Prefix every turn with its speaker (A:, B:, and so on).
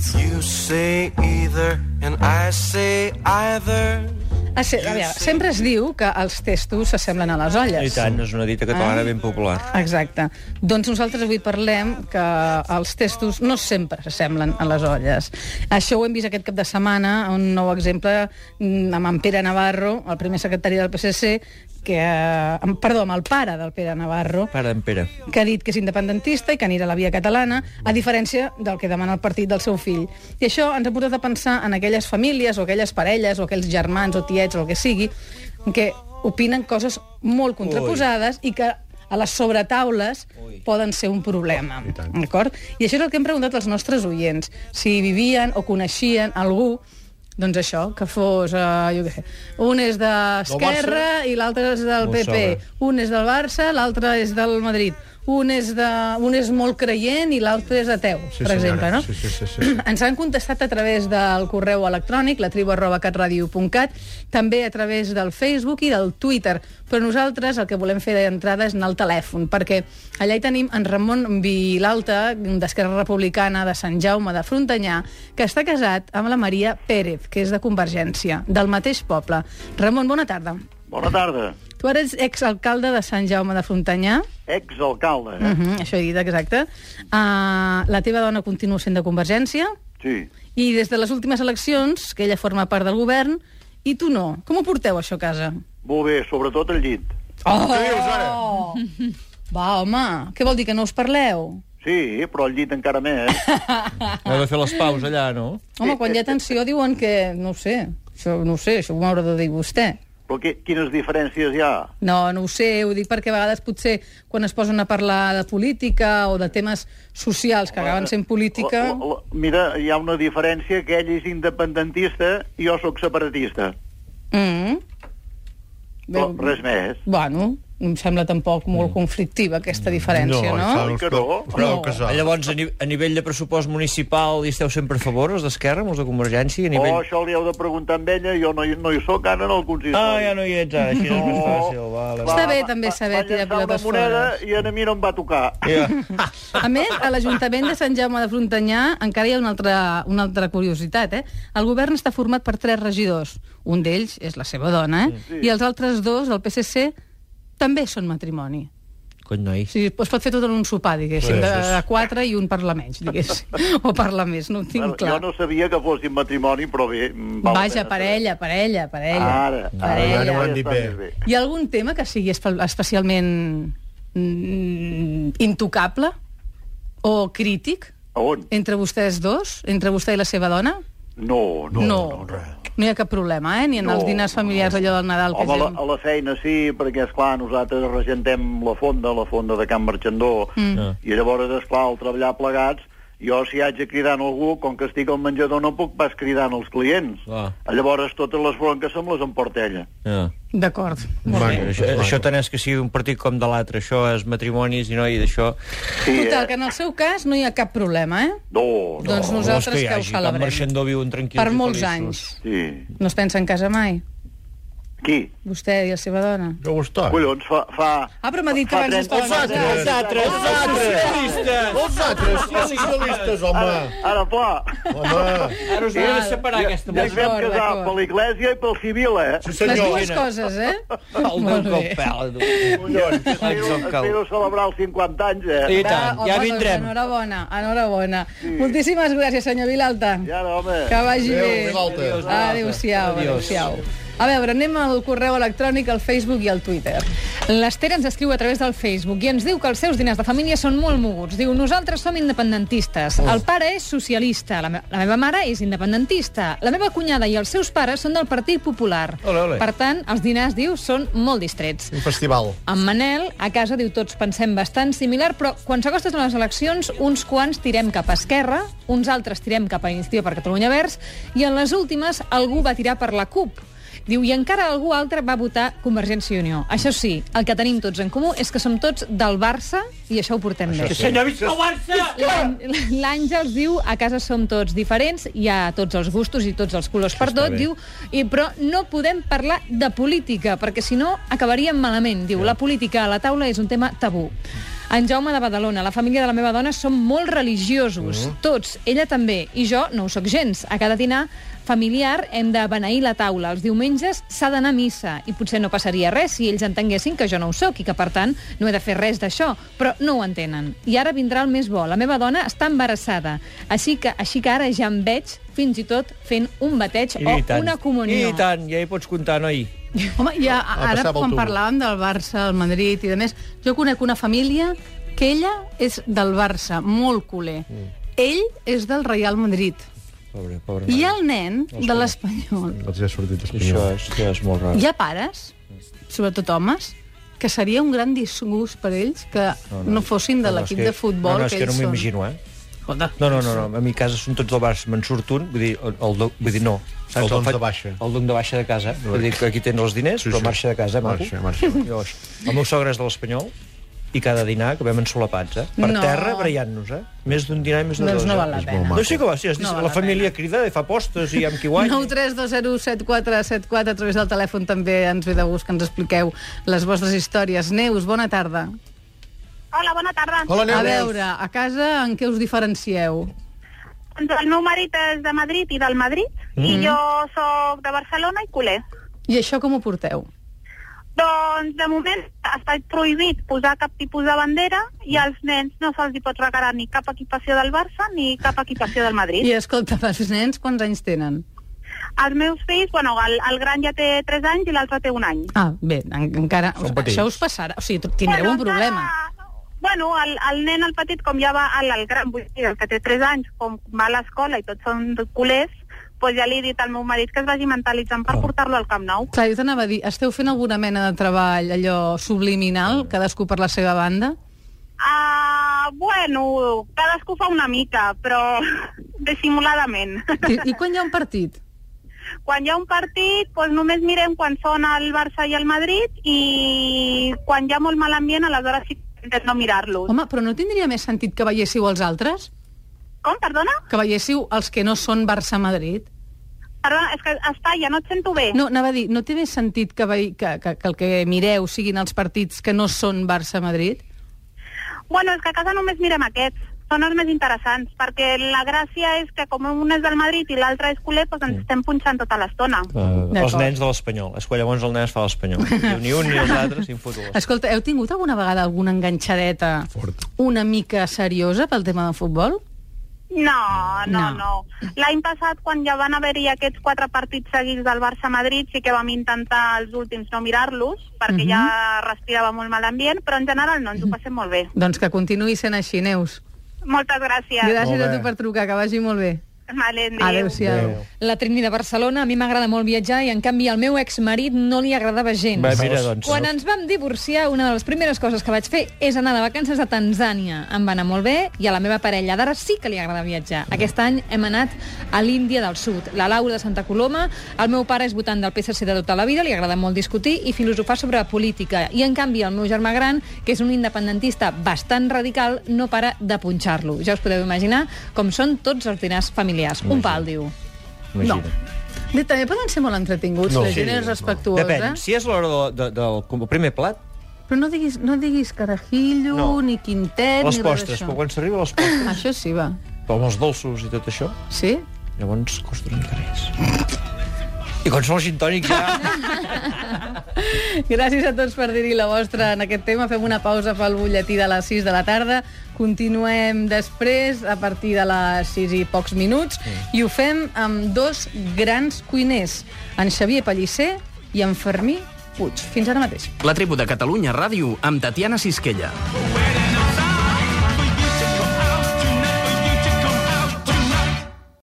A: You say either and I say either.
B: Ah, sí, a veure, sempre es diu que els testos s'assemblen a les olles.
C: I tant, és una dita catalana ben popular.
B: Exacte. Doncs nosaltres avui parlem que els testos no sempre s'assemblen a les olles. Això ho hem vist aquest cap de setmana, un nou exemple mm, amb en Pere Navarro, el primer secretari del PSC, que, eh, amb- perdó, amb el pare del Pere Navarro,
C: Pare en Pere.
B: que ha dit que és independentista i que anirà a la via catalana, a diferència del que demana el partit del seu fill. I això ens ha portat a pensar en aquelles famílies o aquelles parelles o aquells germans o tiets o el que sigui que opinen coses molt contraposades Ui. i que a les sobretaules poden ser un problema. D'acord? I això és el que hem preguntat als nostres oients. Si vivien o coneixien algú doncs això, que fos, eh, jo què sé, un és d'Esquerra i l'altre és del
C: Molt
B: PP.
C: sobre.
B: Un és del Barça, l'altre és del Madrid. Un és, de, un és molt creient i l'altre és ateu, sí, per
D: senyora.
B: exemple, no?
D: Sí, sí, sí, sí.
B: Ens han contestat a través del correu electrònic, la tribu arroba catradio.cat, també a través del Facebook i del Twitter. Però nosaltres el que volem fer d'entrada és anar al telèfon, perquè allà hi tenim en Ramon Vilalta, d'Esquerra Republicana de Sant Jaume de Frontanyà, que està casat amb la Maria Pérez, que és de Convergència, del mateix poble. Ramon, bona tarda.
E: Bona tarda.
B: Tu ara ets exalcalde de Sant Jaume de Frontanyà.
E: Exalcalde, eh?
B: Uh -huh, això he dit, exacte. Uh, la teva dona continua sent de Convergència
E: Sí.
B: i des de les últimes eleccions, que ella forma part del govern, i tu no. Com ho porteu, això, a casa?
E: Molt bé, sobretot el llit.
B: Oh!
D: Què dius, ara?
B: Va, home, què vol dir, que no us parleu?
E: Sí, però el llit encara més, eh?
C: Heu de fer les paus allà, no?
B: Home, quan hi ha tensió diuen que... No ho sé, això, no ho sé, això ho haurà de dir vostè.
E: Però qui, quines diferències hi ha?
B: No, no ho sé, ho dic perquè a vegades potser quan es posen a parlar de política o de temes socials que acaben sent política...
E: Eh, La, la, mira, hi ha una diferència que ell és independentista i jo sóc separatista.
B: Mm.
E: Però res més.
B: Bueno, no em sembla tampoc molt conflictiva aquesta diferència, no?
D: això
E: Oi que no?
D: Prou, prou casat.
C: Llavors, a, ni a nivell de pressupost municipal, hi esteu sempre a favor, els d'Esquerra, amb els de Convergència? A
E: O
C: nivell...
E: Oh, això li heu de preguntar amb ella, jo no hi, no hi sóc ara en el consistori.
C: Ah, ja no hi ets ara, així és més fàcil. Vale.
B: Està bé, també, saber
E: va
B: tirar
E: llançar una
B: pilotes
E: moneda
B: fora.
E: I a mi no em va tocar.
C: Ja.
B: A més, a l'Ajuntament de Sant Jaume de Frontanyà encara hi ha una altra, una altra curiositat, eh? El govern està format per tres regidors. Un d'ells és la seva dona, eh? Sí. I els altres dos del PSC també són matrimoni.
C: Cony,
B: O
C: nois.
B: sigui, es pot fer tot en un sopar, diguéssim,
D: Sí,
B: de,
D: sí, sí.
B: de quatre i un parla menys, diguéssim. O parla més, no ho tinc clar.
E: Jo no sabia que fossin matrimoni, però bé... mm, val la
B: Vaja,
E: pena
B: parella, parella, parella.
E: Ara, ara,
B: Parella.
D: ja no ho han dit
E: està
D: bé.
E: més bé.
B: Hi ha algun tema que sigui espe- especialment mm, intocable o crític
E: A on?
B: entre vostès dos, entre vostè i la seva dona?
E: No, no.
B: no, no hi ha cap problema, eh? Ni en
E: No,
B: els dinars familiars allò del Nadal.
E: Home, a la,
B: gent-
E: a la feina sí, perquè, és clar nosaltres regentem la fonda, la fonda de Can Marchandó, mm. i llavors, esclar, al treballar plegats, jo si haig de cridar en algú, com que estic al menjador no puc pas cridar en els clients.
C: Clar.
E: Llavors totes les bronques se'm les emporta ella.
C: Ja.
B: D'acord. Molt bé.
D: Maco,
C: Això,
D: maco.
C: això tant és que sigui un partit com de l'altre, això és matrimonis i noi d'això...
E: Sí,
B: Total, que
E: eh?
B: en el seu cas no hi ha cap problema, eh?
E: No, no,
B: doncs
C: No,
B: nosaltres
C: vols hi
B: que ho
C: hagi,
B: celebrem.
C: Can Marxandó viuen tranquils
B: Per
C: i
B: molts anys.
C: feliços.
E: sí.
B: No es pensa en casa mai,
E: Qui?
B: vostè i la seva dona.
D: Que gustó.
E: Collons, fa... fa...
B: Ah, però m'ha dit que
E: Fa
B: abans
E: trenta-
B: estava...
D: Vosaltres,
C: socialistes!
D: Vosaltres, sí, socialistes, home.
E: Ah. Ara, clar,
D: Home,
C: Ara us hauré de separar, aquesta
E: ja ens vam
B: D'acord,
E: casar
B: d'acord.
E: per l'Iglésia i pel civil, eh?
D: sí
B: Les
D: senyor.
B: dues coses, eh?
C: El meu copel.
D: Collons.
E: Espero, espero celebrar els 50 anys,
C: I
E: eh?
C: tant,
F: Ah,
B: Va, home,
C: ja
B: doncs,
C: vindrem.
B: Enhorabona, enhorabona. Moltíssimes gràcies, senyor Vilalta.
E: Ja, no, home.
B: Que vagi
D: Adéu,
B: bé.
D: Vilalta. Adéu,
C: Vilalta.
B: Adéu-siau,
C: Adiós.
B: adéu-siau. A veure, anem al correu electrònic, al Facebook i al Twitter.
F: L'Ester ens escriu a través del Facebook i ens diu que els seus dinars de família són molt moguts. Diu, nosaltres som independentistes. El pare és socialista, la, me la meva mare és independentista, la meva cunyada i els seus pares són del Partit Popular.
C: Ole, ole.
F: Per tant, els dinars, diu, són molt distrets.
D: Un festival.
F: En Manel, a casa, diu, tots pensem bastant similar, però quan s'acosten les eleccions, uns quants tirem cap a Esquerra, uns altres tirem cap a Iniciativa per Catalunya Verds, i en les últimes algú va tirar per la CUP. Diu, i encara algú altre va votar Convergència i Unió. Això sí, el que tenim tots en comú és que som tots del Barça, i això ho portem bé.
C: Senyor Vicente Barça!
F: L'An- L'Àngels diu, a casa som tots diferents, hi ha tots els gustos i tots els colors per
C: està
F: tot,
C: bé.
F: diu, i, però no podem parlar de política, perquè si no acabaríem malament, diu. La política a la taula és un tema tabú. En Jaume de Badalona, la família de la meva dona són molt religiosos,
C: Mm-hmm.
F: tots, ella també, i jo no ho sóc gens. A cada dinar familiar hem de beneir la taula. Els diumenges s'ha d'anar a missa i potser no passaria res si ells entenguessin que jo no ho sóc i que, per tant, no he de fer res d'això, però no ho entenen. I ara vindrà el més bo. La meva dona està embarassada, així que, així que ara ja em veig fins i tot fent un bateig
C: I
F: o
B: Oh,
C: tant.
F: una comunió.
C: I tant, Ah, ja hi pots comptar, noi.
B: Home, ja, ara
D: passava
B: quan
D: autobús.
B: parlàvem del Barça, el Madrid i de més, jo conec una família que ella és del Barça, molt culer. Mm. Ell és del Real Madrid.
C: Pobre, pobre.
B: I
C: noi.
B: el nen de l'Espanyol.
D: Els ha sortit
C: Això
D: espanyol.
C: és, això és molt rar.
B: Hi ha pares, sobretot homes, que seria un gran disgust per ells que no, no, no fossin de
C: No, no, és
B: l'equip
C: que-
B: de futbol
C: no, no, és que
B: ells
C: no m'ho
B: són.
C: imagino, eh?
B: Escolta,
C: No, no, no, no, a mi casa són tots del Barça, me'n surt un, vull dir, el, el, do- vull dir no.
D: El don
C: fa-
D: de baixa.
C: El don de baixa de casa. Vull dir que aquí tens els diners,
D: Sí,
C: però
D: sí.
C: marxa de casa, eh, maco.
D: Marxa, marxa.
C: Llavors, el meu sogre és de l'Espanyol, i cada dinar acabem ensolapats, eh? Per
B: No.
C: terra, barallant-nos, eh? Més d'un dinar i més de
B: Doncs
C: dos.
B: no
C: eh?
B: val la
C: És
B: pena.
C: molt maco. No sé com va, sí, has
B: No
C: dit,
B: val
C: la
B: la
C: família crida i fa apostes i amb qui guanya.
B: 9 3 2 0 7 4 7 4 a través del telèfon també ens ve de gust que ens expliqueu les vostres històries. Neus, bona tarda.
G: Hola, bona tarda.
D: Hola,
B: A
D: Neus.
B: veure, a casa en què us diferencieu?
G: Doncs el meu marit és de Madrid i del Madrid, mm
B: Mm-hmm.
G: -hmm. i jo sóc de Barcelona i culer.
B: I això com ho porteu?
G: Doncs, de moment, està prohibit posar cap tipus de bandera i als nens no se'ls hi pot regalar ni cap equipació del Barça ni cap equipació del Madrid.
B: I escolta, els nens quants anys tenen?
G: Els meus fills, bueno, el, el gran ja té 3 anys i l'altre té un any.
B: Ah, bé, en, encara...
C: Són petits.
B: això us passarà. O sigui, tindreu un
G: encara-
B: problema.
G: Bueno, el, el nen, el petit, com ja va, el, el gran, vull dir, el que té 3 anys, com va a l'escola i tots són culers, doncs ja li he dit al meu marit que es vagi mentalitzant per portar-lo al Camp Nou.
B: Clar, jo t'anava a dir, esteu fent alguna mena de treball allò subliminal, cadascú per la seva banda?
G: Ah, bueno, cadascú fa una mica, però dissimuladament.
B: I, i quan hi ha un partit?
G: Quan hi ha un partit, doncs només mirem quan són el Barça i el Madrid i quan hi ha molt mal ambient, aleshores sí que intentem no mirar-los.
B: Home, però no tindria més sentit que veiéssiu els altres?
G: Com, perdona?
B: Que veiéssiu els que no són Barça-Madrid?
G: Perdona, és que està, ja no et sento bé.
B: No, anava a dir, no té més sentit que, vei, que, que, que el que mireu siguin els partits que no són Barça-Madrid?
G: Bueno, és que a casa només mirem aquests. Són els més interessants, perquè la gràcia és que com un és del Madrid i l'altre és culer, doncs ens estem punxant tota l'estona.
C: Uh, els
B: D'acord.
C: nens de l'Espanyol. És quan llavors el nen es fa l'Espanyol. Diu, Ni un ni els altres, ni en foto.
B: Escolta, heu tingut alguna vegada alguna enganxadeta
D: Fort.
B: una mica seriosa pel tema de futbol?
G: No,
B: No.
G: no, no. L'any passat, quan ja van haver-hi aquests quatre partits seguits del Barça-Madrid, sí que vam intentar els últims no mirar-los, perquè
B: Mhm.
G: ja respirava molt mal ambient, però en general no, ens ho passem molt bé.
B: Doncs que continuï sent així, Neus.
G: Moltes gràcies.
B: Gràcies
D: Molt
B: a
D: bé.
B: tu per trucar, que vagi molt bé.
G: Vale, adéu.
B: Adéu-siau.
F: La Trini de Barcelona, a mi m'agrada molt viatjar i, en canvi, al meu exmarit no li agradava gens.
C: Va, mira, doncs,
F: Quan
C: no-
F: ens vam divorciar, una de les primeres coses que vaig fer és anar de vacances a Tanzània. Em va anar molt bé i a la meva parella d'ara sí que li agrada viatjar. Aquest any hem anat a l'Índia del Sud, la Laura de Santa Coloma. El meu pare és votant del PSC de tota la vida, li agrada molt discutir i filosofar sobre la política. I, en canvi, el meu germà gran, que és un independentista bastant radical, no para de punxar-lo. Ja us podeu imaginar com són tots els dinars familiars. Un pal, diu.
C: Imagina't.
B: Bé, també poden ser molt entretinguts, no,
D: No,
B: la
D: sí,
B: gent sí, és
D: no.
B: respectuosa.
C: Depèn, si és l'hora de, de, del com- primer plat,
B: Però no diguis, no diguis carajillo, no.
C: No.
B: ni quintet,
C: les
B: ni res
C: postres,
B: d'això.
C: però quan s'arriba a les postres,
B: Això sí, va.
C: però amb els dolços i tot això,
B: Sí?
C: llavors costa una mica més. I quan són els gintònics ja...
B: Gràcies a tots per dir-hi la vostra en aquest tema. Fem una pausa pel butlletí de les 6 de la tarda. Continuem després, a partir de les 6 i pocs minuts, i ho fem amb dos grans cuiners, en Xavier Pellicer i en Fermí Puig. Fins ara mateix.
H: La tribu de Catalunya Ràdio amb Tatiana Sisquella.
A: Where